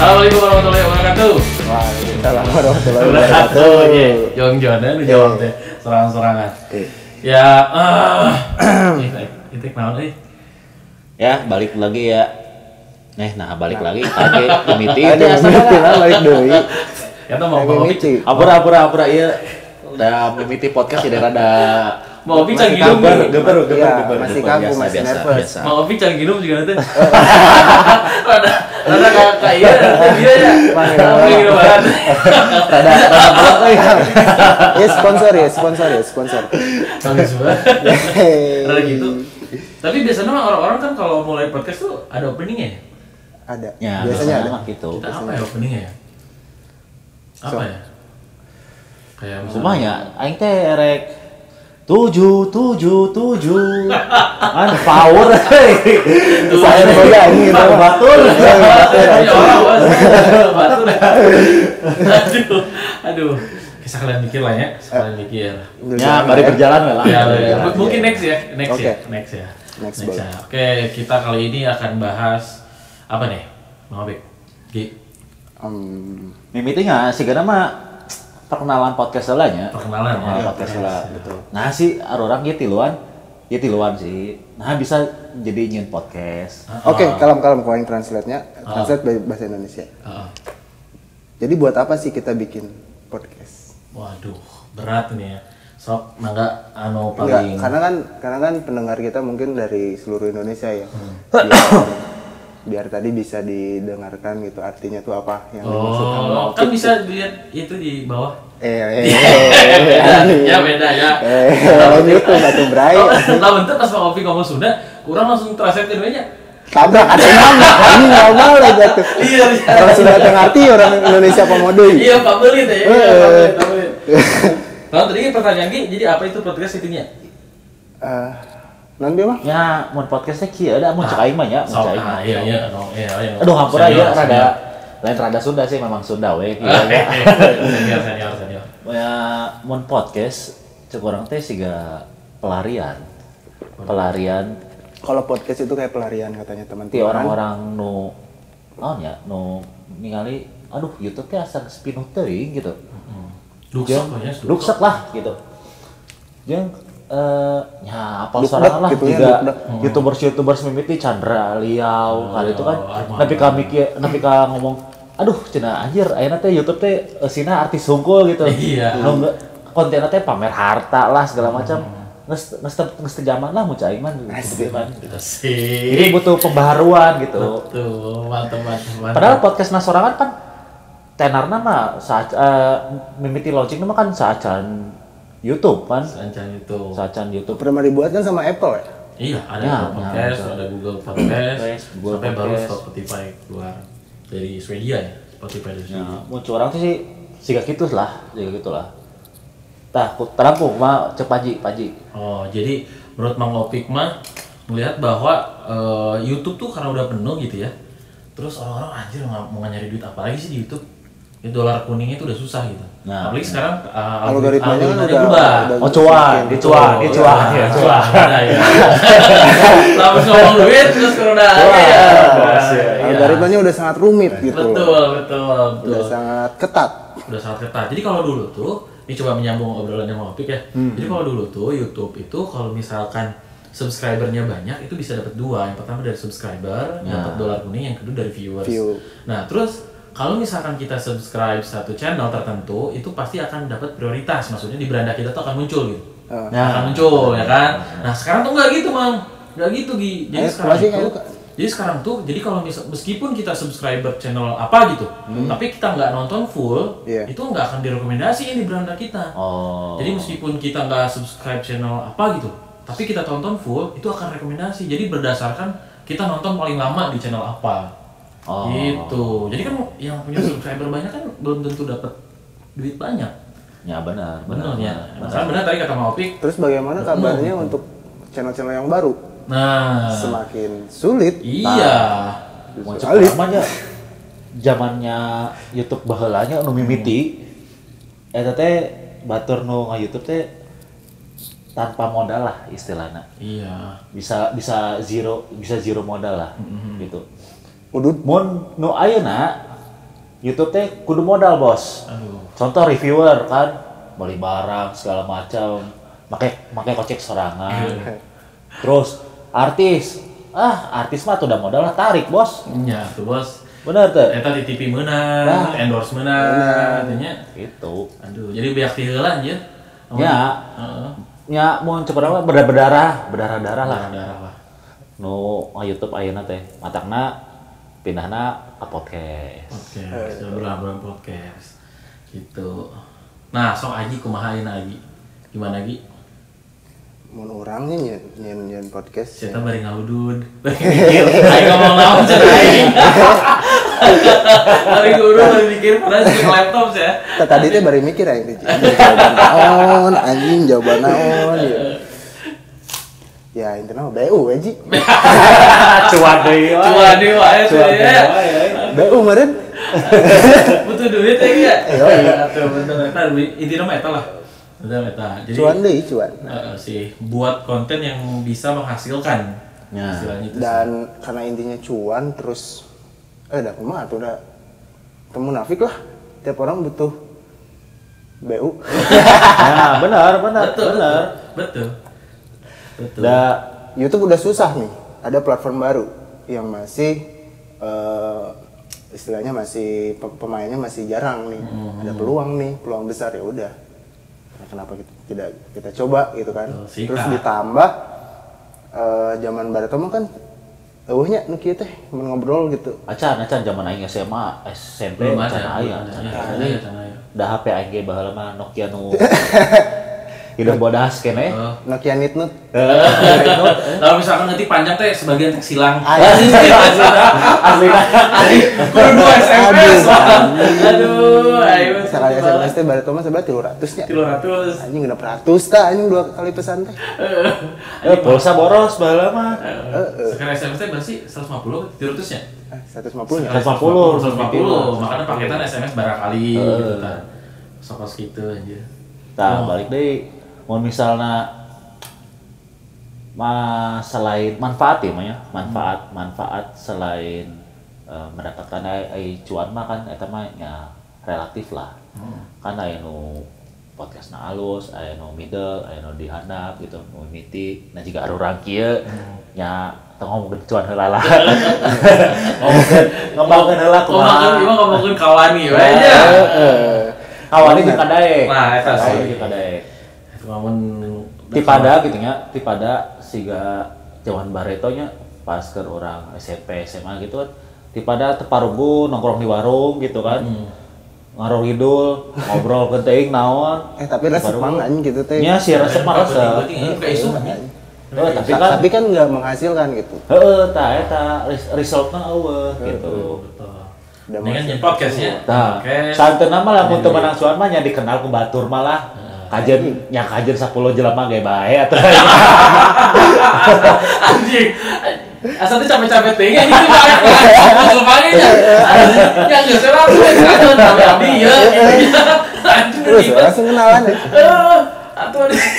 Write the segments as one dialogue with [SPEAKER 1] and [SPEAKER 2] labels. [SPEAKER 1] Assalamualaikum warahmatullahi wabarakatuh. Iya,
[SPEAKER 2] Waalaikumsalam warahmatullahi wabarakatuh.
[SPEAKER 1] Wabarakatuh. Oke, Jong Jong lu jawab deh serang-serangan. Ya, ah, itu kenapa eh
[SPEAKER 3] Ya, balik lagi ya. Eh, nah balik lagi kage komiti
[SPEAKER 2] Ada
[SPEAKER 3] itu
[SPEAKER 2] yang mimpi lah balik doi.
[SPEAKER 1] Ya tuh mau
[SPEAKER 2] Ada
[SPEAKER 1] mau
[SPEAKER 2] mimpi.
[SPEAKER 3] Apura apura apura iya. Udah mimiti podcast tidak ada.
[SPEAKER 1] mau opi canggih dong.
[SPEAKER 3] Geber, geber, geber,
[SPEAKER 2] Iya,
[SPEAKER 3] geber,
[SPEAKER 2] masih
[SPEAKER 3] geber.
[SPEAKER 2] kagum,
[SPEAKER 3] Biasa,
[SPEAKER 2] masih
[SPEAKER 3] biasa,
[SPEAKER 2] nervous.
[SPEAKER 3] biasa.
[SPEAKER 1] Mau opi canggih dong juga nanti. Rada rada kayak kayak iya, rada iya ya.
[SPEAKER 2] Wah,
[SPEAKER 1] Tapi gitu banget.
[SPEAKER 2] Rada rada berat tuh ya. Ya sponsor ya, sponsor ya, sponsor.
[SPEAKER 1] Bagus banget.
[SPEAKER 2] Yeay.
[SPEAKER 1] Rada gitu. Tapi biasanya mah orang-orang kan kalau mulai podcast tuh ada openingnya ya.
[SPEAKER 2] Ada.
[SPEAKER 3] Ya,
[SPEAKER 2] Biasanya ada.
[SPEAKER 3] mah gitu.
[SPEAKER 1] Kita apa ya openingnya ya? Apa ya? Kayak
[SPEAKER 3] Cuma ya, aing teh erek tujuh tujuh tujuh kan power
[SPEAKER 2] Saya boga ini gitu.
[SPEAKER 3] batur
[SPEAKER 1] Punya orang, Bos. Batu dah. Aduh, aduh. Kisah kalian mikir lah ya, Kisah kalian mikir.
[SPEAKER 3] ya mari
[SPEAKER 2] Iya.
[SPEAKER 3] berjalan lah
[SPEAKER 1] Ya, ya. mungkin next ya, next
[SPEAKER 2] Oke.
[SPEAKER 1] ya, next ya.
[SPEAKER 2] Next
[SPEAKER 1] ya. Oke, kita kali ini akan bahas apa nih? Mang Obek. G,
[SPEAKER 2] Hmm,
[SPEAKER 3] mimiti nggak sih karena mah perkenalan podcast lah nya
[SPEAKER 1] perkenalan ya.
[SPEAKER 2] Iya.
[SPEAKER 3] perkenalan podcast lah nah si orang ya tiluan ya tiluan sih nah bisa jadi nyin podcast
[SPEAKER 1] Ah.
[SPEAKER 2] Oke, kalem-kalem kalau yang translate-nya, translate dari bahasa Indonesia.
[SPEAKER 1] Heeh.
[SPEAKER 2] Jadi buat apa sih kita bikin podcast?
[SPEAKER 1] Waduh, berat nih ya. Sok mangga anu
[SPEAKER 2] Enggak,
[SPEAKER 1] paling
[SPEAKER 2] karena kan karena kan pendengar kita mungkin dari seluruh Indonesia ya. Biar, biar tadi bisa didengarkan gitu artinya tuh apa yang dimaksud sama
[SPEAKER 1] Oh, kan bisa dilihat itu di bawah.
[SPEAKER 2] eh eh
[SPEAKER 1] ya beda ya.
[SPEAKER 2] eh lanjut tuh batu berai
[SPEAKER 1] Kalau lah bentar pas Pak Opi ngomong Sunda, kurang langsung terasa keduanya.
[SPEAKER 2] tabrak ada nama ini normal lah gitu
[SPEAKER 1] Iya, iya.
[SPEAKER 2] orang sudah ngerti orang Indonesia pemodoi
[SPEAKER 1] Iya, Pak Belit ya. Iya,
[SPEAKER 2] Eh.
[SPEAKER 1] Pak Belit, Pak Belit. Nah, tadi pertanyaan Ki, jadi apa itu podcast itunya?
[SPEAKER 2] Eh, non dia mah
[SPEAKER 3] ya mun podcastnya kia ada mun cek aing mah ya mun
[SPEAKER 1] Ah. Sok,
[SPEAKER 3] cek aing mah.
[SPEAKER 1] ah, iya, iya, no, iya, iya.
[SPEAKER 3] aduh hampura
[SPEAKER 1] Senior,
[SPEAKER 3] ya rada
[SPEAKER 1] senior.
[SPEAKER 3] lain rada Sunda sih memang Sunda we kieu
[SPEAKER 1] Eh,
[SPEAKER 3] nya.
[SPEAKER 1] eh, Senior, senior, senior.
[SPEAKER 3] ya mun podcast cek orang teh siga pelarian pelarian
[SPEAKER 2] kalau podcast itu kayak pelarian katanya
[SPEAKER 3] ti
[SPEAKER 1] Iya.
[SPEAKER 2] teman-teman
[SPEAKER 3] orang-orang nu naon ya nu ningali aduh YouTube teh asa spinuh teuing gitu Iya.
[SPEAKER 1] Duksak pokoknya, duksak.
[SPEAKER 3] ruksek lah gitu jeung eh ya apa
[SPEAKER 2] Dukdek
[SPEAKER 3] salah lah
[SPEAKER 2] gitu ya,
[SPEAKER 3] juga
[SPEAKER 2] dukdek.
[SPEAKER 3] youtubers youtubers mimiti Chandra Liau kali itu kan
[SPEAKER 1] Arman.
[SPEAKER 3] tapi kami kia- tapi ka ngomong aduh cina anjir ayeuna teh YouTube teh eh, sina artis sungkul gitu
[SPEAKER 1] Iya.
[SPEAKER 3] nu nge- kontenna teh pamer harta lah segala macam nges nges nges teu jaman lah mun cai man gitu kan. jadi
[SPEAKER 1] Asik.
[SPEAKER 3] butuh pembaharuan gitu
[SPEAKER 1] Tuh, mantap, mantap, mantap.
[SPEAKER 3] Padahal podcast nasorangan kan tenarna mah saat eh, mimiti launching mah kan saacan YouTube kan.
[SPEAKER 1] Sancan itu.
[SPEAKER 3] Saacan YouTube.
[SPEAKER 2] pernah dibuat kan sama Apple ya
[SPEAKER 1] Iya, ada
[SPEAKER 3] Ya,
[SPEAKER 1] Apple podcast,
[SPEAKER 3] nah,
[SPEAKER 1] ada Google podcast,
[SPEAKER 3] Podcast, Google
[SPEAKER 1] sampai baru
[SPEAKER 3] podcast.
[SPEAKER 1] Spotify keluar dari Swedia ya, Spotify dari Swedia.
[SPEAKER 3] Nah, muncul orang tuh sih siga gitu lah, siga gitu lah. Tah, ku terampung mah cek Paji, Paji.
[SPEAKER 1] Oh, jadi menurut Mang Opik mah melihat bahwa eh, YouTube tuh karena udah penuh gitu ya. Terus orang-orang anjir nggak mau nyari duit apa lagi sih di YouTube? Ya, dolar kuningnya itu udah susah gitu.
[SPEAKER 3] Nah,
[SPEAKER 1] Apalagi sekarang eh,
[SPEAKER 2] Algoritmanya kan udah-
[SPEAKER 1] berubah.
[SPEAKER 2] udah gitu.
[SPEAKER 3] Oh, cuan, dicuan, dicuan,
[SPEAKER 1] Nah,
[SPEAKER 3] ya,
[SPEAKER 1] cuan. Nah, ya. Langsung ngomong duit terus corona. Iya.
[SPEAKER 2] algoritmanya udah sangat rumit gitu loh.
[SPEAKER 1] Betul, betul, betul.
[SPEAKER 3] Iya,
[SPEAKER 2] udah sangat ketat
[SPEAKER 1] udah sangat ketat. Jadi kalau dulu tuh, ini coba menyambung obrolan yang Opik ya.
[SPEAKER 2] Hmm.
[SPEAKER 1] Jadi kalau dulu tuh YouTube itu kalau misalkan subscribernya banyak itu bisa dapat dua. Yang pertama dari subscriber, dapat dolar kuning, yang kedua dari viewers.
[SPEAKER 2] Nah. View.
[SPEAKER 1] Nah, terus kalau misalkan kita subscribe satu channel tertentu, itu pasti akan dapat prioritas. Maksudnya di beranda kita tuh akan muncul gitu.
[SPEAKER 2] Eh.
[SPEAKER 3] Nah.
[SPEAKER 1] akan muncul ya kan. Nah, sekarang tuh nggak gitu, Mang. Nggak gitu, Gi. Jadi
[SPEAKER 2] Ayo,
[SPEAKER 1] sekarang
[SPEAKER 2] masih
[SPEAKER 1] itu,
[SPEAKER 2] kayak- gitu?
[SPEAKER 1] jadi sekarang tuh, jadi kalau misal, meskipun kita subscriber channel apa gitu,
[SPEAKER 3] Hmm.
[SPEAKER 1] tapi kita nggak nonton full,
[SPEAKER 2] Iya.
[SPEAKER 1] itu nggak akan direkomendasiin di beranda kita.
[SPEAKER 3] Oh.
[SPEAKER 1] Jadi meskipun kita nggak subscribe channel apa gitu, tapi kita tonton full, itu akan rekomendasi. Jadi berdasarkan kita nonton paling lama di channel apa.
[SPEAKER 3] Oh.
[SPEAKER 1] Gitu. Jadi kan yang punya subscriber banyak kan belum tentu dapat duit banyak.
[SPEAKER 3] Ya benar,
[SPEAKER 1] Benar
[SPEAKER 3] benar.
[SPEAKER 1] ya. Masalah benar tadi kata Mang Opik.
[SPEAKER 2] terus bagaimana kabarnya untuk channel-channel yang baru
[SPEAKER 1] Nah,
[SPEAKER 2] semakin sulit
[SPEAKER 1] iya.
[SPEAKER 3] Mun cek
[SPEAKER 2] Alif.
[SPEAKER 3] orang mah nya zamannya YouTube baheulanya nu mimiti. Eta teh batur nu nge-YouTube teh tanpa modal lah istilahnya.
[SPEAKER 1] Iya.
[SPEAKER 3] bisa bisa zero bisa zero modal lah gitu
[SPEAKER 2] Udut
[SPEAKER 3] mun nu ayeuna YouTube teh kudu modal bos.
[SPEAKER 1] Aduh.
[SPEAKER 3] Contoh reviewer kan beli barang segala macam, pakai pakai kocek sorangan. Terus artis, ah artis mah tuh udah modal lah tarik bos.
[SPEAKER 1] Ya, tuh bos.
[SPEAKER 3] Bener tuh.
[SPEAKER 1] Eta di TV menang, endorse menang, artinya.
[SPEAKER 3] Itu.
[SPEAKER 1] Aduh, jadi biak tiheula anjir. Namun,
[SPEAKER 3] Ya,
[SPEAKER 1] Heeh.
[SPEAKER 3] ya mau cepet apa berdarah berdarah berdarah darah lah.
[SPEAKER 1] darah lah.
[SPEAKER 3] Nu no, YouTube ayeuna teh, matakna pindahna ke podcast.
[SPEAKER 1] podcast ya berlaburan podcast gitu nah sok Aji kumaha ayeuna Aji gimana Aji
[SPEAKER 2] Mun orangnya nyen nyen nyen podcast.
[SPEAKER 1] cerita bari ngaudud bari mikir ayo ngomong naon cenah aing bari ngaudud bari mikir padahal jeung laptop ya
[SPEAKER 2] Ta- Nah, Tadi teh bari mikir aing teh. Jawaban naon, anjing jawaban naon ya. Ya, intinya mah BU anjing.
[SPEAKER 1] Ah,
[SPEAKER 3] Cuan deui. wae.
[SPEAKER 1] cuma di wae sih
[SPEAKER 3] Cuan deui
[SPEAKER 1] ya
[SPEAKER 3] wae, ya.
[SPEAKER 2] BU meureun.
[SPEAKER 1] butuh duit ya iya
[SPEAKER 2] Iya, iya.
[SPEAKER 1] Tuh, bener eta intina mah eta lah Eta mah eta jadi
[SPEAKER 2] Cuan deui cuan.
[SPEAKER 1] eh, sih buat konten yang bisa menghasilkan
[SPEAKER 3] Ya.
[SPEAKER 1] istilahnya itu sih.
[SPEAKER 2] Dan karena intinya cuan terus eh dah kumaha atuh da temu nafik lah. Tiap orang butuh BU.
[SPEAKER 3] Nah, benar, benar,
[SPEAKER 1] betul
[SPEAKER 3] benar.
[SPEAKER 1] betul betul
[SPEAKER 3] Da
[SPEAKER 2] Eh, YouTube udah susah nih. Ada platform baru yang masih eh, istilahnya masih pe- pemainnya masih jarang nih.
[SPEAKER 1] Hmm.
[SPEAKER 2] Ada peluang nih, peluang besar ya udah. Nah, Kenapa kita tidak kita coba gitu kan?
[SPEAKER 1] Betul, sikat.
[SPEAKER 2] Terus ditambah eh, zaman barat mah kan eueuhnya nu kieu teh mun ngobrol gitu.
[SPEAKER 3] Acan, acan zaman aing SMA, SMP,
[SPEAKER 1] belum
[SPEAKER 3] acan
[SPEAKER 1] ada
[SPEAKER 3] aing,
[SPEAKER 1] belum ada. Ya,
[SPEAKER 3] acan aing.
[SPEAKER 1] tanah ya, tanah ya.
[SPEAKER 3] Dah HP aing ge baheula mah Nokia nu hidup bodas kene. Eh,
[SPEAKER 1] Oh.
[SPEAKER 2] Nokia Nitnut.
[SPEAKER 1] Kalau misalkan ngetik panjang teh sebagian teks silang.
[SPEAKER 2] Anjing.
[SPEAKER 3] Asli
[SPEAKER 1] Kudu dua SMS. Aduh, ayo.
[SPEAKER 2] Misalkan SMS teh barat mah sebelah 300 nya.
[SPEAKER 1] Kilo ratus.
[SPEAKER 2] Anjing udah 100 ta anjing dua kali pesan teh.
[SPEAKER 3] Eh, pulsa boros baheula mah.
[SPEAKER 1] Eh, Sekarang SMS teh berapa sih? 150 300 ya?
[SPEAKER 2] Ah, 150 nya.
[SPEAKER 1] 150.
[SPEAKER 3] 150.
[SPEAKER 1] Makanya
[SPEAKER 3] Eh.
[SPEAKER 1] paketan SMS barangkali gitu kan. Sok gitu anjir.
[SPEAKER 3] Tah, balik deui. Mun misalna ma selain manfaat ya mah ya, manfaat manfaat selain eh, mendapatkan ai- ai cuan mah kan eta mah nya relatif lah. Kan aya nu podcast na alus, aya nu middle, aya nu dihandap gitu, nu miti, nah jika arurang kieu nya teu ngomongkeun cuan heula lah. Ngomongkeun ngomongkeun heula
[SPEAKER 1] Ngomongin Eh.
[SPEAKER 3] kumaha.
[SPEAKER 1] gimana ngomongin kawani we aja.
[SPEAKER 3] Heeh.
[SPEAKER 2] Eh,
[SPEAKER 3] Awalnya jeung kadae.
[SPEAKER 1] Nah, eta sih.
[SPEAKER 3] Awalnya jeung kadae
[SPEAKER 1] Ngomongin Nah,
[SPEAKER 3] tipada gitu nya tipada siga jauhan baretonya pas ke orang SMP SMA gitu kan tipada teparugu nongkrong di warung gitu kan ngaruh ngidul ngobrol ke teing naon
[SPEAKER 2] Eh tapi resep
[SPEAKER 3] Baru-
[SPEAKER 2] mangan gitu teh.
[SPEAKER 3] nya si resep mah resep
[SPEAKER 1] Kayak isu kan, ya?
[SPEAKER 2] Iya,
[SPEAKER 1] anjir.
[SPEAKER 2] Oh,
[SPEAKER 3] Tuh, tapi
[SPEAKER 2] Ta-
[SPEAKER 3] kan
[SPEAKER 2] tapi kan nggak menghasilkan gitu.
[SPEAKER 3] heeh tah eta res- resultna eueuh gitu
[SPEAKER 1] Betul.
[SPEAKER 2] Udah
[SPEAKER 1] Dengan yang podcastnya.
[SPEAKER 2] Nah,
[SPEAKER 3] Tah, santena mah lamun teu menang suan mah nya dikenal ku batur mah lah. Kajen, nya kajen 10 jelema ge bae atuh.
[SPEAKER 1] anjing asalnya capek-capek ting ini tuh banyak kan? muncul pagi ya ya nggak sih lah tuh kan tapi tapi ya anjing
[SPEAKER 2] Terus langsung kenalan ya.
[SPEAKER 1] Eh, atau ada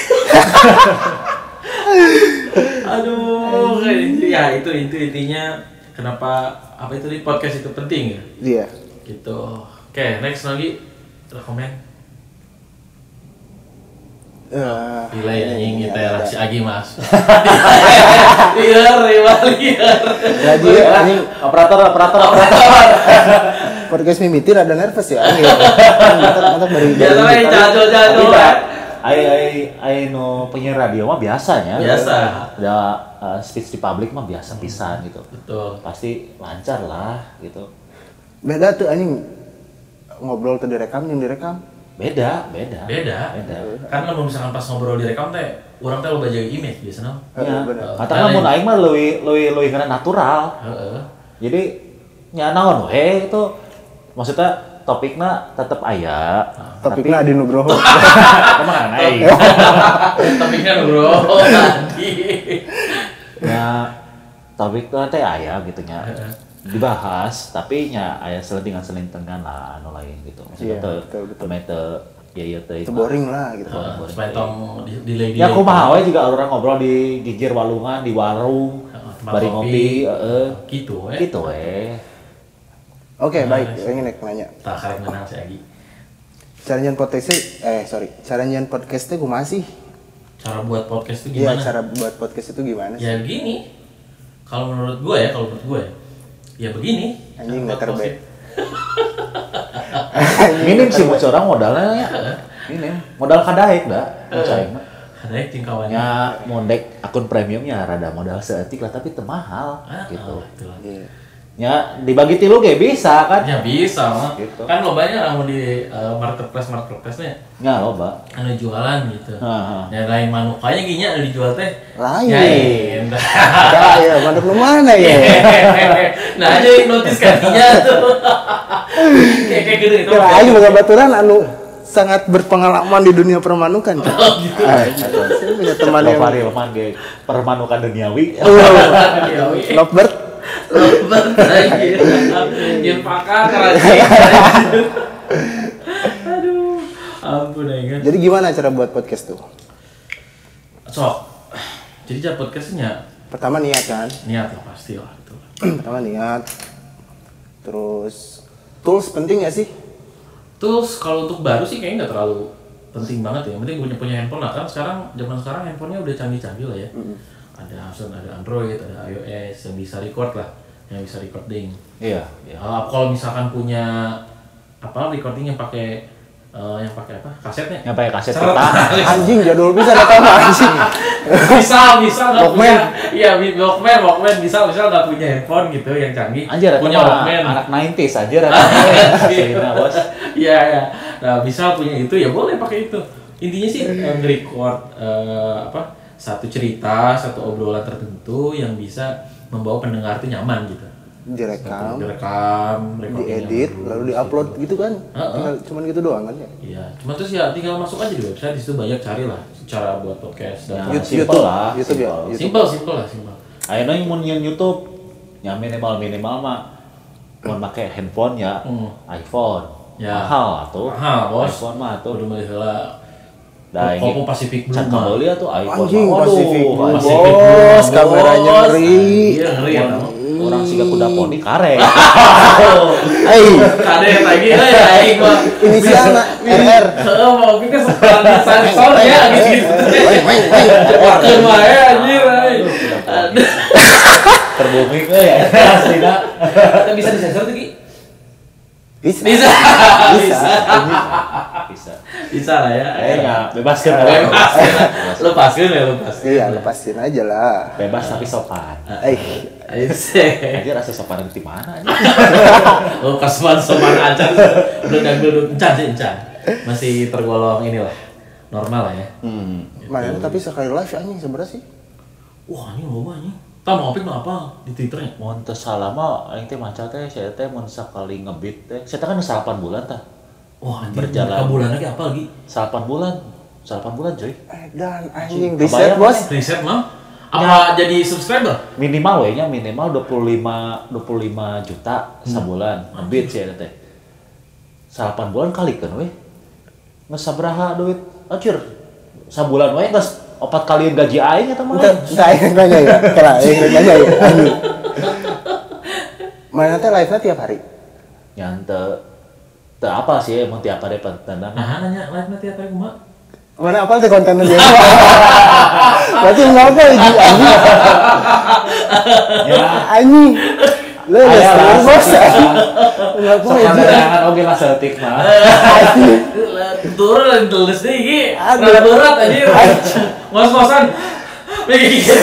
[SPEAKER 1] aduh kayak- ya itu itu intinya kenapa apa itu di podcast itu penting ya
[SPEAKER 2] Iya.
[SPEAKER 1] gitu oke next lagi rekomend
[SPEAKER 2] Eh,
[SPEAKER 1] Gila ya,
[SPEAKER 2] ini-
[SPEAKER 1] anjing
[SPEAKER 2] ini
[SPEAKER 1] kita
[SPEAKER 2] ada-
[SPEAKER 1] ya,
[SPEAKER 2] ada.
[SPEAKER 1] si Agi mas Liar, rival, liar
[SPEAKER 2] Lagi
[SPEAKER 3] Iya.
[SPEAKER 2] anjing
[SPEAKER 3] operator operator operator
[SPEAKER 2] podcast mimiti rada nervous ya. anjing. Mantap mantap baru baru
[SPEAKER 1] Biasa aja,
[SPEAKER 2] gitu.
[SPEAKER 1] Eh, jatuh, jatuh
[SPEAKER 3] Tidak. Ai ai ai no penyiar radio mah biasanya.
[SPEAKER 1] Biasa.
[SPEAKER 3] Ya eh, speech di publik mah biasa pisan gitu.
[SPEAKER 1] Betul
[SPEAKER 3] Pasti lancar lah gitu.
[SPEAKER 2] Beda tuh anjing ngobrol tuh direkam yang direkam.
[SPEAKER 3] Beda, beda.
[SPEAKER 1] beda
[SPEAKER 3] Beda.
[SPEAKER 1] kan kalau misalkan pas ngobrol di rekam teh orang teh loba jaga image biasanya
[SPEAKER 2] Eh,
[SPEAKER 3] Ya.
[SPEAKER 2] bener.
[SPEAKER 3] Katakan mun aing mah leuwih leuwih leuwih karena natural.
[SPEAKER 1] heeh
[SPEAKER 3] Jadi nya naon we itu maksudnya topiknya tetap aya.
[SPEAKER 2] Topiknya Adi Nugroho.
[SPEAKER 3] kemana aing?
[SPEAKER 1] tapi kan bro tadi
[SPEAKER 3] ya tapi kan teh ayah gitu nya
[SPEAKER 1] Heeh.
[SPEAKER 3] dibahas tapi nya ayah selentingan selentingan lah anu lain gitu
[SPEAKER 2] Iya,
[SPEAKER 3] maksudnya teu
[SPEAKER 2] betul, betul.
[SPEAKER 3] teu meh teu ya ya teu
[SPEAKER 2] Itu boring lah gitu.
[SPEAKER 3] Ah.
[SPEAKER 1] supaya tong di di lady
[SPEAKER 3] ya kumaha we juga orang ngobrol di gigir walungan di warung
[SPEAKER 1] Heeh, tempat Gitu,
[SPEAKER 3] bari
[SPEAKER 1] kopi.
[SPEAKER 3] ngopi heeh
[SPEAKER 1] gitu eh
[SPEAKER 3] gitu we
[SPEAKER 2] Oke,
[SPEAKER 1] Nah,
[SPEAKER 2] baik. Saya ingin nanya.
[SPEAKER 1] tak karek menang si Agi
[SPEAKER 2] Caranjian podcast eh sorry, caranjian podcast itu gue masih.
[SPEAKER 1] cara buat podcast itu
[SPEAKER 2] Iya,
[SPEAKER 1] gimana
[SPEAKER 2] cara buat podcast itu gimana sih?
[SPEAKER 1] ya begini kalau menurut gue ya kalau menurut gue ya ya begini
[SPEAKER 2] Anjing,
[SPEAKER 1] Buat
[SPEAKER 2] nggak terbaik.
[SPEAKER 1] podcast.
[SPEAKER 3] minim sih buat orang modalnya ya minim modal kadaik dah mencari
[SPEAKER 1] ada yang tingkawannya
[SPEAKER 3] hanya mondek akun premiumnya rada modal seetik lah tapi temahal
[SPEAKER 1] Ah,
[SPEAKER 3] gitu
[SPEAKER 1] ah, itulah.
[SPEAKER 2] Iya.
[SPEAKER 3] ya dibagi tilu kayak bisa kan
[SPEAKER 1] ya bisa mah
[SPEAKER 3] Gitu.
[SPEAKER 1] kan lo banyak lah mau di eh, marketplace marketplace-nya
[SPEAKER 3] ya loba
[SPEAKER 1] ada jualan gitu
[SPEAKER 3] Ah, ah.
[SPEAKER 1] dan lain manukanya ginya ada dijual teh iya.
[SPEAKER 2] Lain.
[SPEAKER 1] Nyain.
[SPEAKER 2] Ya, ya, mandek lu mana
[SPEAKER 1] Iya.
[SPEAKER 2] ya?
[SPEAKER 1] nah aja yang notice kakinya tuh kayak gitu, kayak gede itu
[SPEAKER 2] Ya, ayo bukan baturan anu sangat berpengalaman di dunia permanukan. Cak.
[SPEAKER 1] gitu
[SPEAKER 2] Ah, Saya punya teman yang Oh,
[SPEAKER 3] Lovari Leman ge permanukan duniawi
[SPEAKER 2] Lovebird.
[SPEAKER 1] Iya, Lompat lagi Yang pakar kerasi Aduh Ampun ya kan. ingat
[SPEAKER 2] Jadi gimana cara buat podcast tuh?
[SPEAKER 1] Sok Jadi cara podcastnya
[SPEAKER 2] Pertama niat kan?
[SPEAKER 1] Niat lah pasti lah gitu.
[SPEAKER 2] Pertama niat. Terus tools penting gak sih?
[SPEAKER 1] Terus kalau untuk baru sih kayaknya nggak terlalu penting banget ya. Yang penting punya punya handphone lah. Kan sekarang zaman sekarang handphonenya udah canggih-canggih lah ya. Ada Samsung, ada Android, ada iOS yang bisa record lah, yang bisa recording.
[SPEAKER 3] iya
[SPEAKER 1] Ya, kalau misalkan punya apa recording yang pakai eh, yang pakai apa kasetnya?
[SPEAKER 3] yang pakai kaset
[SPEAKER 1] Seret.
[SPEAKER 3] peta
[SPEAKER 2] Anjing jadul bisa ada apa anjing.
[SPEAKER 1] bisa bisa nggak
[SPEAKER 2] Walkman.
[SPEAKER 1] punya iya bi- walkman walkman bisa bisa nggak punya handphone gitu yang canggih
[SPEAKER 3] anjir
[SPEAKER 1] punya Iya. walkman
[SPEAKER 3] punya anak 90s anjir Aslinya, bos
[SPEAKER 1] iya iya nah bisa punya itu ya boleh pakai itu intinya sih
[SPEAKER 2] Iya.
[SPEAKER 1] eh, nge-record eh, apa satu cerita satu obrolan tertentu yang bisa membawa pendengar itu nyaman gitu
[SPEAKER 2] Direkam,
[SPEAKER 1] direkam recording yang
[SPEAKER 2] diedit,
[SPEAKER 1] bagus,
[SPEAKER 2] lalu diupload gitu kan?
[SPEAKER 1] Heeh.
[SPEAKER 2] Tinggal cuman gitu doang kan ya?
[SPEAKER 1] Iya, cuma terus ya tinggal masuk aja di website di situ banyak carilah cara buat podcast dan
[SPEAKER 3] Ya,
[SPEAKER 2] YouTube,
[SPEAKER 3] simple lah
[SPEAKER 2] Nah, YouTube ya.
[SPEAKER 3] simple.
[SPEAKER 1] simple simple lah simple.
[SPEAKER 3] Ayeuna yang mun nyeun YouTube nya minimal minimal mah mun make handphone ya
[SPEAKER 1] Hmm.
[SPEAKER 3] iPhone.
[SPEAKER 1] Ya.
[SPEAKER 3] Mahal atuh.
[SPEAKER 1] Mahal, bos.
[SPEAKER 3] iPhone mah atuh.
[SPEAKER 1] Udah mulai heula.
[SPEAKER 3] Da
[SPEAKER 1] Oppo Pacific Blue
[SPEAKER 3] Can
[SPEAKER 1] mah.
[SPEAKER 3] kabeuli atuh iPhone.
[SPEAKER 2] Anjing
[SPEAKER 3] mah.
[SPEAKER 2] Pacific Blue,
[SPEAKER 1] Pacific
[SPEAKER 3] Pacific
[SPEAKER 1] Blue,
[SPEAKER 2] bos,
[SPEAKER 1] bos.
[SPEAKER 2] kameranya ngeri.
[SPEAKER 1] Iya, ngeri ya. Bang.
[SPEAKER 3] Blue. Orang siga kuda poni karet.
[SPEAKER 2] Hei,
[SPEAKER 1] Kadet lagi ya, ya, aing mah.
[SPEAKER 2] inisialnya RR.
[SPEAKER 1] Heeh, Oh, mau kita sekarang sensor ya gitu. Iya,
[SPEAKER 2] Weng, weng, weng. Iya,
[SPEAKER 1] Wakeun wae
[SPEAKER 3] Iya,
[SPEAKER 1] anjir. aing. Iya, Aduh.
[SPEAKER 3] Terbumi euy ya. Aslinya.
[SPEAKER 1] Kita bisa disensor tuh, Ki?
[SPEAKER 2] Bisa.
[SPEAKER 1] Bisa.
[SPEAKER 2] Bisa.
[SPEAKER 3] Bisa.
[SPEAKER 1] Bisa lah ya.
[SPEAKER 3] Eh nya bebas kan.
[SPEAKER 1] Bebas. Lu pasin ya, lu pasin.
[SPEAKER 2] Iya, lepasin aja lah.
[SPEAKER 3] Bebas tapi sopan.
[SPEAKER 2] Eh,
[SPEAKER 1] Ayo sih.
[SPEAKER 3] Anjir rasa sopan di mana anjing?
[SPEAKER 1] Oh, kasuan sopan acan. Belum dan belum encan sih encan. Masih tergolong inilah. Normal lah ya.
[SPEAKER 3] Hmm.
[SPEAKER 2] mana tapi sekali live anjing seberapa sih?
[SPEAKER 1] Wah, ini loba ini. Tam mau ngopi mah apa di ya? Twitternya?
[SPEAKER 3] Mun teu salama aing teh maca teh saya teh mun sakali ngebit teh. Saya teh kan salapan bulan tah.
[SPEAKER 1] Wah, anjir,
[SPEAKER 3] Berjalan.
[SPEAKER 1] Kabulan lagi apa lagi?
[SPEAKER 3] Salapan bulan. Salapan bulan cuy.
[SPEAKER 2] Eh, Dan anjing
[SPEAKER 3] Anjing,
[SPEAKER 2] riset
[SPEAKER 3] kebayang
[SPEAKER 2] bos.
[SPEAKER 1] Riset mah? Apa jadi subscriber?
[SPEAKER 3] Minimal we nya minimal 25 25 juta sebulan ngebit saya teh. Salapan bulan kali kan we. Nges sabaraha duit? Anjir. Sabulan we geus opat kali gaji aing ya, eta mah.
[SPEAKER 2] Entar, entar yang nanya ya. Entar lah, yang nanya ya. Anjing. Mana teh live-nya tiap hari?
[SPEAKER 3] Nya teu teu Ya, apa sih ya, emang tiap hari pentenan.
[SPEAKER 1] Nah, nanya live nanti apa yang mak?
[SPEAKER 2] Mana apa teh kontennya dia? Berarti mau teh anjing anjing.
[SPEAKER 3] Ya.
[SPEAKER 2] Anjing. Lu udah
[SPEAKER 3] Ayalah,
[SPEAKER 2] salah bos.
[SPEAKER 3] sok-
[SPEAKER 2] Enggak
[SPEAKER 3] Sok
[SPEAKER 2] boleh. anjing.
[SPEAKER 3] kadang-kadang oge lah seutik mah.
[SPEAKER 1] Turun dan tulis deh, gini.
[SPEAKER 2] Aduh.
[SPEAKER 1] Berat berat anjir. Ngos-ngosan. Mikir.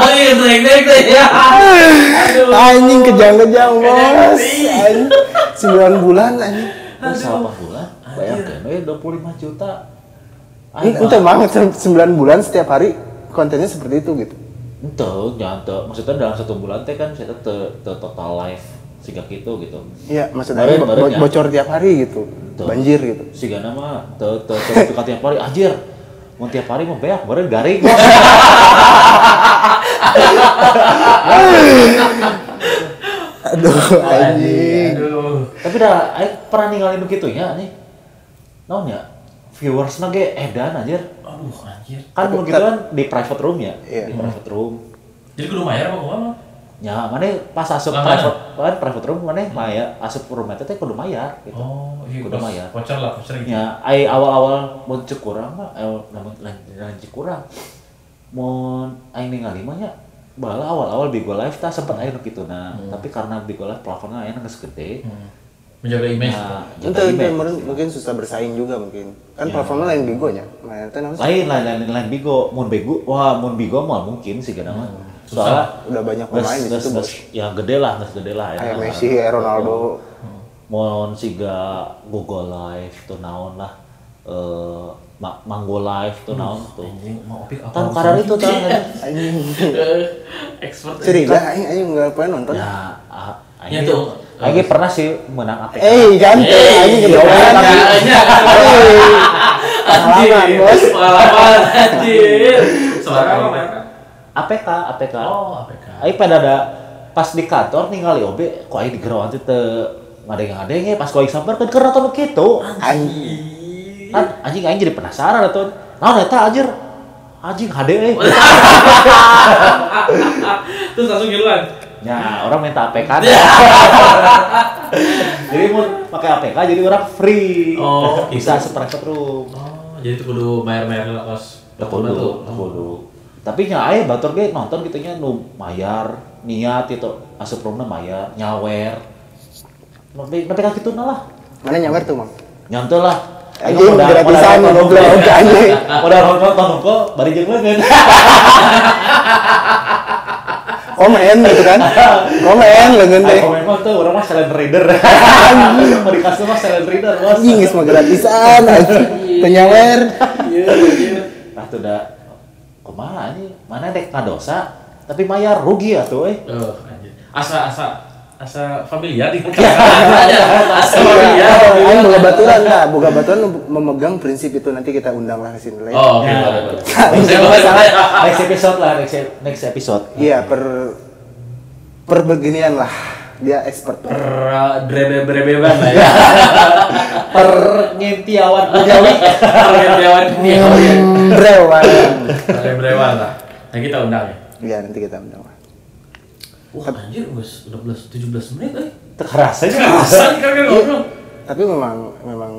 [SPEAKER 1] Oh iya, naik-naik deh ya. Aduh.
[SPEAKER 2] Anjing kejang-kejang bos.
[SPEAKER 1] Kejang-kejang.
[SPEAKER 2] Anjing. 9 bulan anjing.
[SPEAKER 3] Terus salah bulan, bayangkan, eh 25 juta.
[SPEAKER 2] Ini
[SPEAKER 3] Ente,
[SPEAKER 2] ente banget 9 bulan setiap hari kontennya seperti itu gitu.
[SPEAKER 3] ente, nyante. Maksudnya dalam satu bulan teh kan saya te, te total life sehingga gitu gitu.
[SPEAKER 2] Iya, maksudnya
[SPEAKER 3] Baret,
[SPEAKER 2] bo-
[SPEAKER 3] baret
[SPEAKER 2] bo-
[SPEAKER 3] ya?
[SPEAKER 2] bocor tiap hari gitu.
[SPEAKER 3] Betul.
[SPEAKER 2] Banjir gitu.
[SPEAKER 3] Sehingga nama te te te buka tiap hari anjir. Mau tiap hari mau beak, baru garing.
[SPEAKER 2] Aduh, anjing.
[SPEAKER 1] Aduh.
[SPEAKER 3] Tapi dah, aing pernah ninggalin begitunya nih. Naon ya? Viewers nage edan anjir.
[SPEAKER 1] Aduh, anjir.
[SPEAKER 3] Kan begitu kan di private room ya,
[SPEAKER 2] Iya.
[SPEAKER 3] di private room.
[SPEAKER 1] Jadi kudu bayar apa gua mah?
[SPEAKER 3] Ya, mana pas asup
[SPEAKER 1] Langganan.
[SPEAKER 3] private, kan private room mana maya asup room itu teh kudu mayar gitu.
[SPEAKER 1] Oh, iya,
[SPEAKER 3] kudu
[SPEAKER 1] kos-
[SPEAKER 3] mayar.
[SPEAKER 1] voucher lah, voucher gitu.
[SPEAKER 3] Ya, ai awal-awal mau cek kurang mah, eh, namun lanjut kurang. Mau aing ningali mah nya bala awal-awal Bigo Live tah sempat aing gitu nah,
[SPEAKER 2] Hmm.
[SPEAKER 3] tapi karena Bigo Live plafonnya aing geus gede.
[SPEAKER 1] Hmm. Menjaga image.
[SPEAKER 3] Nah,
[SPEAKER 2] Itu
[SPEAKER 3] jadi
[SPEAKER 2] itu
[SPEAKER 3] me-
[SPEAKER 2] meren- mungkin susah bersaing juga mungkin. Kan platformnya lain bigonya. Nah, itu namanya
[SPEAKER 3] lain lain lain lain Bigo, mun Bigo, wah mun Bigo mah mungkin sih kana mah. Soalnya
[SPEAKER 2] Hmm. udah banyak pemain di
[SPEAKER 3] geus
[SPEAKER 2] situ
[SPEAKER 3] geus
[SPEAKER 2] bos.
[SPEAKER 3] yang gede lah, geus gede lah. ya.
[SPEAKER 2] Kayak
[SPEAKER 3] eta.
[SPEAKER 2] Messi, kayak Ronaldo.
[SPEAKER 3] Mohon siga Google Live tuh naon lah. Eh Ma- Manggo Live tuh naon tuh.
[SPEAKER 2] Hmm.
[SPEAKER 1] Anjing, mau opik apa?
[SPEAKER 3] Tahun karar itu tahun
[SPEAKER 2] Iya.
[SPEAKER 3] karar.
[SPEAKER 1] Eh, Expert.
[SPEAKER 2] Curiga aing aing enggak pernah nonton.
[SPEAKER 3] Ya, ah,
[SPEAKER 1] Ya,
[SPEAKER 3] aing-
[SPEAKER 1] tuh.
[SPEAKER 3] aing pernah sih menang APK.
[SPEAKER 2] Eh, ganteng aing gitu kan. Pengalaman, Eh, Bos.
[SPEAKER 1] Pengalaman, anjir. Suara apa, Pak?
[SPEAKER 3] APK, APK.
[SPEAKER 1] Oh, APK.
[SPEAKER 3] Aing pada ada pas di kantor ningali OB, kok aing di gerowan teh ngadeng-ngadeng ya pas kok aing sampear kan karena tuh kitu.
[SPEAKER 2] Aing
[SPEAKER 3] Kan anjing aing jadi penasaran atuh. Naon eta anjir? Anjing eh. HD euy.
[SPEAKER 1] Terus langsung giluan.
[SPEAKER 3] Ya, orang minta APK. jadi mau pakai APK jadi orang free.
[SPEAKER 1] Oh,
[SPEAKER 3] bisa
[SPEAKER 1] gitu.
[SPEAKER 3] seperangkat room.
[SPEAKER 1] Oh, jadi itu kudu bayar-bayar lah kos.
[SPEAKER 3] Kudu, kudu. Tapi nya aya batur ge nonton kitu nya nu mayar, niat itu asup roomna mayar, nyawer. Nepi nepi ka kituna lah.
[SPEAKER 2] mana nyawer tuh, Mang?
[SPEAKER 3] Nyantol lah.
[SPEAKER 2] Anjing gratisan
[SPEAKER 3] modal-
[SPEAKER 2] goblok anjing.
[SPEAKER 3] Modal nonton kok bari kan? jeung leungeun.
[SPEAKER 2] Komen gitu kan. Komen lengan deh.
[SPEAKER 3] Aku memang tuh orang mah silent reader. Mau dikasih mah silent reader, Bos.
[SPEAKER 2] Anjing geus mah gratisan anjing. Penyawer.
[SPEAKER 1] Iya, iya.
[SPEAKER 3] Nah tuh dah kumaha ini mana dek ngadosa tapi mayar rugi ya tuh eh.
[SPEAKER 1] Eh, anjir. Asa asa asa familiar di
[SPEAKER 2] Iya.
[SPEAKER 1] Asa familiar.
[SPEAKER 2] Aing boga baturan tah, boga baturan memegang prinsip itu nanti kita undang lah ke sini lagi.
[SPEAKER 1] Oh, oke.
[SPEAKER 3] Ya.
[SPEAKER 1] boleh, boleh.
[SPEAKER 2] Anjing, apa salah?
[SPEAKER 3] Next episode lah next e- next episode.
[SPEAKER 2] Iya, per perbeginian lah. Dia expert.
[SPEAKER 1] Per eh, drebe-drebeban lah ya.
[SPEAKER 3] Per nyentiawan duniawi.
[SPEAKER 1] Pergedewan dunia.
[SPEAKER 2] Oh, Iya. Brewang.
[SPEAKER 1] Drebewan lah. Nah, kita undang ya.
[SPEAKER 2] Iya, nanti kita undang lah.
[SPEAKER 1] Wah, anjir, wes udah 17 menit eh.
[SPEAKER 3] Terasanya
[SPEAKER 1] Kerasan kan kan ngobrol.
[SPEAKER 2] Tapi memang memang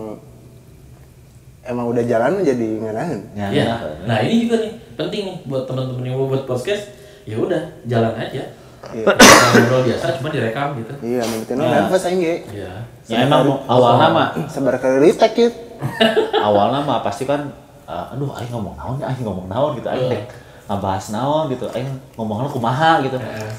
[SPEAKER 2] emang udah jalan jadi nganahan.
[SPEAKER 3] Ya.
[SPEAKER 1] Iya.
[SPEAKER 3] ya.
[SPEAKER 1] Nah, ini juga nih penting nih buat teman-teman yang mau buat podcast. Ya udah, jalan aja.
[SPEAKER 2] Iya.
[SPEAKER 1] Kita Ngobrol biasa cuma direkam gitu.
[SPEAKER 2] Iya, menurut nah. nervous aing ge.
[SPEAKER 1] Iya.
[SPEAKER 3] Ya emang awalnya mah
[SPEAKER 2] Sabar kali litek yuk.
[SPEAKER 3] awalnya mah pasti kan eh, aduh aing ngomong naon ya, aing ngomong naon gitu aing dek ngabahas naon gitu aing ngomongna kumaha gitu.
[SPEAKER 1] Eh,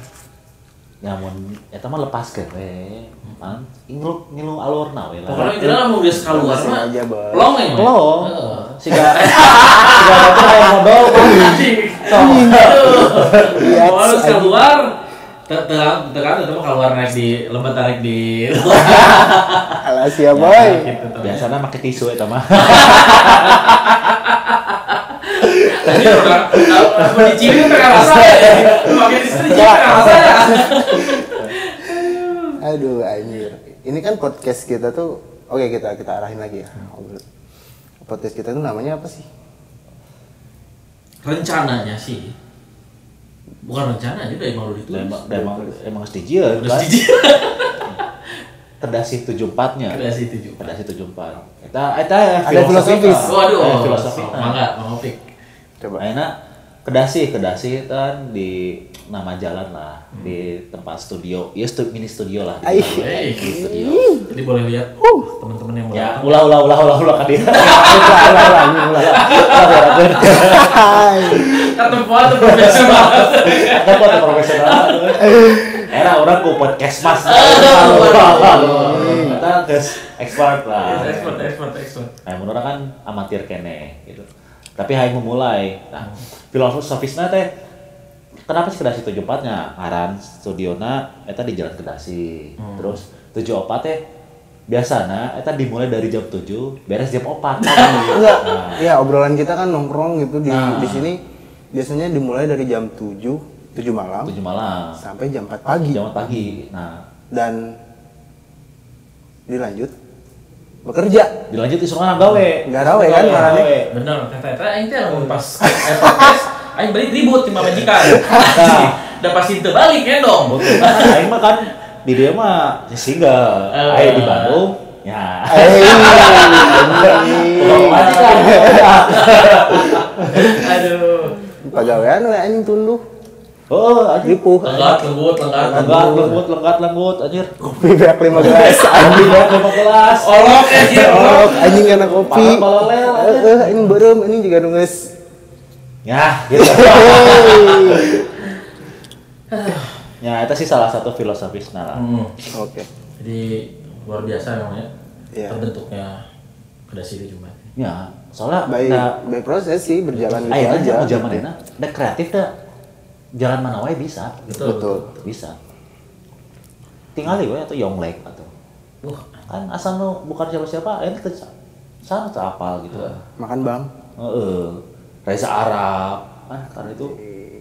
[SPEAKER 3] Nyamun eta mah lepas ke we. Pan ngilu ngilu alur na we lah.
[SPEAKER 1] Pokoknya kita lah mau geus keluar
[SPEAKER 2] Langsung
[SPEAKER 1] mah.
[SPEAKER 2] aja, Bos.
[SPEAKER 1] Plong ya. Mas?
[SPEAKER 3] Belum.
[SPEAKER 1] Heeh.
[SPEAKER 3] Siga siga batur kayak modal.
[SPEAKER 1] Anjing.
[SPEAKER 2] Iya,
[SPEAKER 1] Aduh. Harus keluar. Terang, terang, itu mah keluar naik di lembah tarik di.
[SPEAKER 2] Alas ya boy.
[SPEAKER 1] Gitu, tuh.
[SPEAKER 3] Biasanya pakai tisu eta mah.
[SPEAKER 1] Tadi orang, aku dicibir pengen rasa ya. Pakai di sini cibir pengen rasa ya.
[SPEAKER 2] Aduh anjir. Ini kan podcast kita tuh oke kita kita arahin lagi ya. Podcast kita tuh namanya apa sih?
[SPEAKER 1] Rencananya sih, bukan rencana aja, emang udah ditulis.
[SPEAKER 3] Emang emang emang sedih
[SPEAKER 1] Udah sih.
[SPEAKER 3] Terdasih 74-nya.
[SPEAKER 1] Terdasih 74.
[SPEAKER 3] Terdasih 74. Eta eta
[SPEAKER 2] Ada filosofis.
[SPEAKER 1] Waduh,
[SPEAKER 3] Eh,
[SPEAKER 1] filosofi.
[SPEAKER 3] filosofi.
[SPEAKER 1] Mangga, mau pik.
[SPEAKER 2] Coba.
[SPEAKER 3] Ayeuna Kedasi, Kedasi kan di nama jalan lah,
[SPEAKER 2] Hmm.
[SPEAKER 3] di tempat studio. Ya stu, mini studio lah. Di,
[SPEAKER 1] Hey.
[SPEAKER 3] mini studio.
[SPEAKER 1] Jadi boleh lihat teman-teman yang mau
[SPEAKER 3] Ya, ulah ulah ulah ulah ulah ka dia.
[SPEAKER 2] Ulah ulah ulah anjing, ulah. Hai.
[SPEAKER 1] Kata buat profesional.
[SPEAKER 3] Ada kok ada ya, profesional. Era orang ku podcast mas. Kita guys expert lah.
[SPEAKER 1] Expert, expert, expert.
[SPEAKER 3] Nah, menurut orang kan amatir kene gitu. Tapi hayang memulai. Nah, filosofisnya teh kenapa sih Kedasi 74-nya? Aran studiona eta di Jalan Kedasi.
[SPEAKER 2] Hmm.
[SPEAKER 3] Terus 74 teh biasana eta dimulai dari jam 7 beres jam 4.
[SPEAKER 2] Enggak. Ya obrolan kita kan nongkrong gitu di di sini biasanya dimulai dari jam 7 7 malam
[SPEAKER 3] 7 malam.
[SPEAKER 2] sampai jam 4 pagi
[SPEAKER 3] Jam 4 pagi. Nah,
[SPEAKER 2] dan dilanjut bekerja.
[SPEAKER 3] dilanjut isungan gawe.
[SPEAKER 2] Nggak gawe kan, marane.
[SPEAKER 3] Gawe.
[SPEAKER 1] "Ah, Bener, kata eta aing teh lamun pas eh, podcast aing balik ribut di majikan.
[SPEAKER 3] Nah,
[SPEAKER 1] udah pasti terbalik ya dong.
[SPEAKER 3] Betul. Kan aing mah kan di dia mah single.
[SPEAKER 1] Eh.
[SPEAKER 3] Aing di Bandung. Ya.
[SPEAKER 2] Eh,
[SPEAKER 3] Belum mati kan.
[SPEAKER 1] Aduh.
[SPEAKER 2] Pegawaian we anjing tunduh.
[SPEAKER 3] Oh, anjir.
[SPEAKER 2] Ripuh.
[SPEAKER 1] Lenggat, lembut, lenggat.
[SPEAKER 3] Lenggat, lenggut, lenggat, lenggut, anjir.
[SPEAKER 2] Kopi banyak lima gelas.
[SPEAKER 3] Anjing banget sama kelas.
[SPEAKER 1] Olok ya dia.
[SPEAKER 2] Oh, anjing enak kopi.
[SPEAKER 3] Parah, parah, lel, anjing.
[SPEAKER 2] Eh, eh, anjing berem, anjing juga nunges.
[SPEAKER 3] Ya, gitu.
[SPEAKER 2] Hei.
[SPEAKER 3] Ya, itu sih salah satu filosofis nah.
[SPEAKER 1] Hmm.
[SPEAKER 2] Oke.
[SPEAKER 1] Jadi luar biasa memang ya.
[SPEAKER 2] Iya.
[SPEAKER 1] Terbentuknya kedasi di Jumat.
[SPEAKER 3] Ya, soalnya
[SPEAKER 2] Baik,
[SPEAKER 3] nah,
[SPEAKER 2] baik proses sih berjalan gitu
[SPEAKER 3] Ayo aja
[SPEAKER 2] aja.
[SPEAKER 3] mau zaman ini, udah kreatif dah. Jalan mana wae bisa,
[SPEAKER 1] Betul.
[SPEAKER 2] Betul.
[SPEAKER 3] bisa. Tinggal di wae atau Yonglek atau
[SPEAKER 1] Wah,
[SPEAKER 3] kan asal nu bukan siapa siapa, ini teh sana teh apal gitu.
[SPEAKER 1] Iya.
[SPEAKER 3] kan.
[SPEAKER 2] Makan bang.
[SPEAKER 3] Heeh. Reza Arab, kan karena itu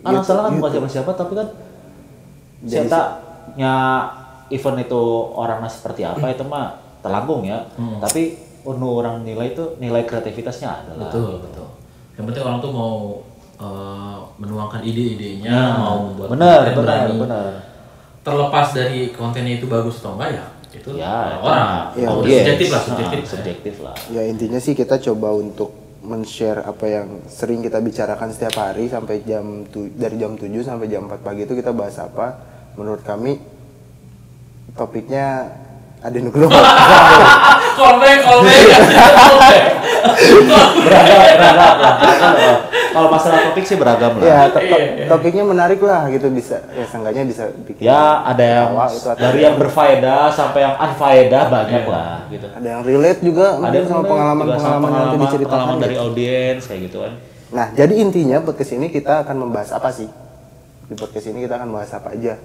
[SPEAKER 3] kan
[SPEAKER 2] Gitu,
[SPEAKER 3] asalnya kan bukan
[SPEAKER 2] gitu.
[SPEAKER 3] siapa siapa tapi kan
[SPEAKER 2] Jadi-
[SPEAKER 3] siapa nya event itu orangnya seperti apa itu mah terlambung ya.
[SPEAKER 1] Hmm.
[SPEAKER 3] Tapi nu orang nilai itu nilai kreativitasnya adalah
[SPEAKER 1] betul, betul. Yang penting orang tuh mau eh, menuangkan ide-idenya,
[SPEAKER 3] Nah,
[SPEAKER 1] mau membuat
[SPEAKER 3] bener,
[SPEAKER 1] konten,
[SPEAKER 3] bener,
[SPEAKER 1] berani.
[SPEAKER 3] bener.
[SPEAKER 1] Terlepas dari kontennya itu bagus atau enggak ya, itu
[SPEAKER 3] ya
[SPEAKER 1] orang.
[SPEAKER 2] ya,
[SPEAKER 1] Oh,
[SPEAKER 3] audience.
[SPEAKER 1] subjektif lah,
[SPEAKER 3] Nah,
[SPEAKER 1] subjektif.
[SPEAKER 3] subjektif lah
[SPEAKER 2] Ya intinya sih kita coba untuk men-share apa yang sering kita bicarakan setiap hari sampai jam tu- dari jam 7 sampai jam 4 pagi itu kita bahas apa? Menurut kami topiknya ada global.
[SPEAKER 1] Ah, Callback, callback.
[SPEAKER 3] beragam beragam beragam. kalau masalah topik sih beragam lah ya,
[SPEAKER 2] ya, to- to- topiknya menarik lah gitu bisa. Ya seenggaknya bisa bikin
[SPEAKER 3] Ya, ada yang
[SPEAKER 2] Awal itu atau-
[SPEAKER 3] dari yang berfaedah sampai yang unfaedah banyak
[SPEAKER 1] Iya.
[SPEAKER 3] lah gitu
[SPEAKER 2] ada yang relate juga mungkin sama
[SPEAKER 3] yang relate juga sama
[SPEAKER 2] pengalaman-pengalaman yang nanti
[SPEAKER 3] pengalaman-
[SPEAKER 2] diceritakan.
[SPEAKER 3] pengalaman dari
[SPEAKER 2] gitu.
[SPEAKER 3] audiens kayak gitu kan
[SPEAKER 2] Nah, jadi intinya podcast ini kita akan membahas apa sih? Di podcast ini kita akan bahas apa aja?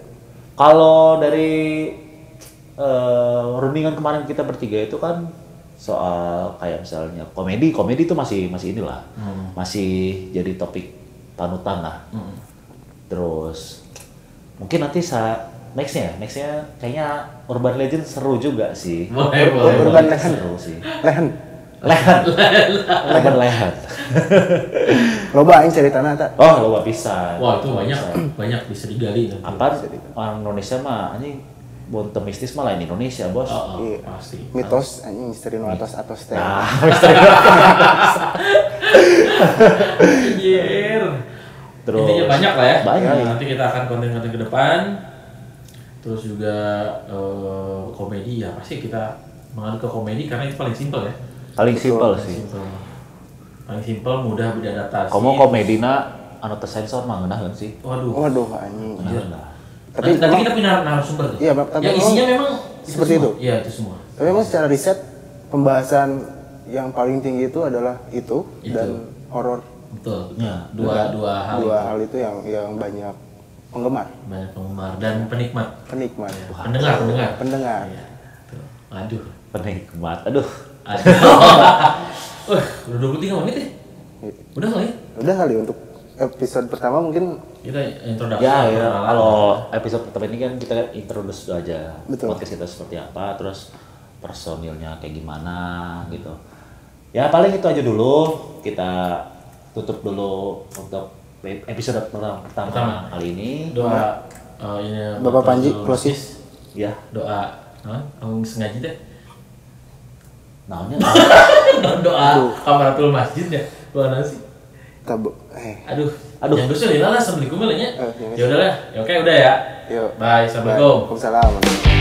[SPEAKER 3] kalau dari eh, rundingan kemarin kita bertiga itu kan soal kayak misalnya komedi komedi itu masih masih inilah
[SPEAKER 1] Hmm.
[SPEAKER 3] masih jadi topik panutan lah terus mungkin nanti sa nextnya nextnya kayaknya urban legend seru juga sih
[SPEAKER 1] Boleh, boleh,
[SPEAKER 2] Urban
[SPEAKER 3] Legend
[SPEAKER 2] Legend.
[SPEAKER 3] seru sih
[SPEAKER 2] Lehen,
[SPEAKER 3] lehat Kan. urban lehat
[SPEAKER 2] loba yang cerita nata.
[SPEAKER 3] oh lupa pisan
[SPEAKER 1] Wah, itu banyak, banyak bisa digali. nanti.
[SPEAKER 3] apa orang Indonesia mah anjing bontem mistis mah lain Indonesia bos
[SPEAKER 1] Oh, oh,
[SPEAKER 2] Iya.
[SPEAKER 1] pasti.
[SPEAKER 2] Mitos anjing misteri nu atos atos teh.
[SPEAKER 3] nah
[SPEAKER 1] Anjir.
[SPEAKER 3] Terus-
[SPEAKER 1] Intinya banyak lah ya.
[SPEAKER 3] Banyak.
[SPEAKER 1] Ya, Nanti kita akan konten-konten ke depan. Terus juga eh, komedi ya pasti kita mengalir ke komedi karena itu paling simpel ya.
[SPEAKER 3] paling simpel
[SPEAKER 1] Paling
[SPEAKER 3] sih
[SPEAKER 1] simpel. Paling simpel mudah beradaptasi.
[SPEAKER 3] kamu komedina anu tersensor mah ngeunaheun sih
[SPEAKER 1] Waduh.
[SPEAKER 2] Waduh anjing.
[SPEAKER 3] Ngeunaheun lah.
[SPEAKER 2] Tapi
[SPEAKER 1] nanti, nanti
[SPEAKER 2] memang-
[SPEAKER 1] kita punya narasumber tuh.
[SPEAKER 2] Iya, tapi
[SPEAKER 1] yang
[SPEAKER 2] memang
[SPEAKER 1] isinya memang
[SPEAKER 2] seperti
[SPEAKER 1] semua.
[SPEAKER 2] itu.
[SPEAKER 1] Iya, itu semua.
[SPEAKER 2] Tapi memang secara riset pembahasan yang paling tinggi itu adalah itu,
[SPEAKER 1] Itu. Ah,
[SPEAKER 2] dan horor
[SPEAKER 1] Betul. Nah,
[SPEAKER 3] Ya,
[SPEAKER 1] dua dua hal
[SPEAKER 2] dua hal itu yang yang banyak penggemar,
[SPEAKER 1] banyak penggemar dan penikmat.
[SPEAKER 2] penikmat,
[SPEAKER 1] Ya, Pendengar, pendengar.
[SPEAKER 2] pendengar.
[SPEAKER 1] Iya. Tuh. Aduh.
[SPEAKER 3] penikmat aduh
[SPEAKER 1] Aduh. Wah, udah 23 menit ya? Udah kali ya?
[SPEAKER 2] Udah kali untuk episode pertama mungkin
[SPEAKER 1] Kita introduksi.
[SPEAKER 3] ya, ya
[SPEAKER 1] perkenalan.
[SPEAKER 3] kalau episode pertama ini kan kita introduce dulu aja
[SPEAKER 2] Betul.
[SPEAKER 3] podcast kita seperti apa terus personilnya kayak gimana gitu ya paling itu aja dulu kita tutup dulu untuk episode pertama,
[SPEAKER 1] Pertama.
[SPEAKER 3] pertama kali ini
[SPEAKER 1] doa eh, ini
[SPEAKER 2] Bapak Panji
[SPEAKER 1] Dulu
[SPEAKER 2] closing.
[SPEAKER 1] Sis.
[SPEAKER 3] ya
[SPEAKER 1] Doa. Hah? Kamu sengaja deh.
[SPEAKER 3] namanya
[SPEAKER 1] doa kamaratul masjid ya. Doa nasi.
[SPEAKER 2] tab eh
[SPEAKER 1] Aduh.
[SPEAKER 3] Aduh.
[SPEAKER 1] Yang dosa lila lah, assalamualaikum lah ya.
[SPEAKER 2] Eh, yang dosa.
[SPEAKER 1] Ya udahlah. Ya oke udah ya.
[SPEAKER 2] Yuk.
[SPEAKER 1] Bye, assalamualaikum.
[SPEAKER 2] Waalaikumsalam.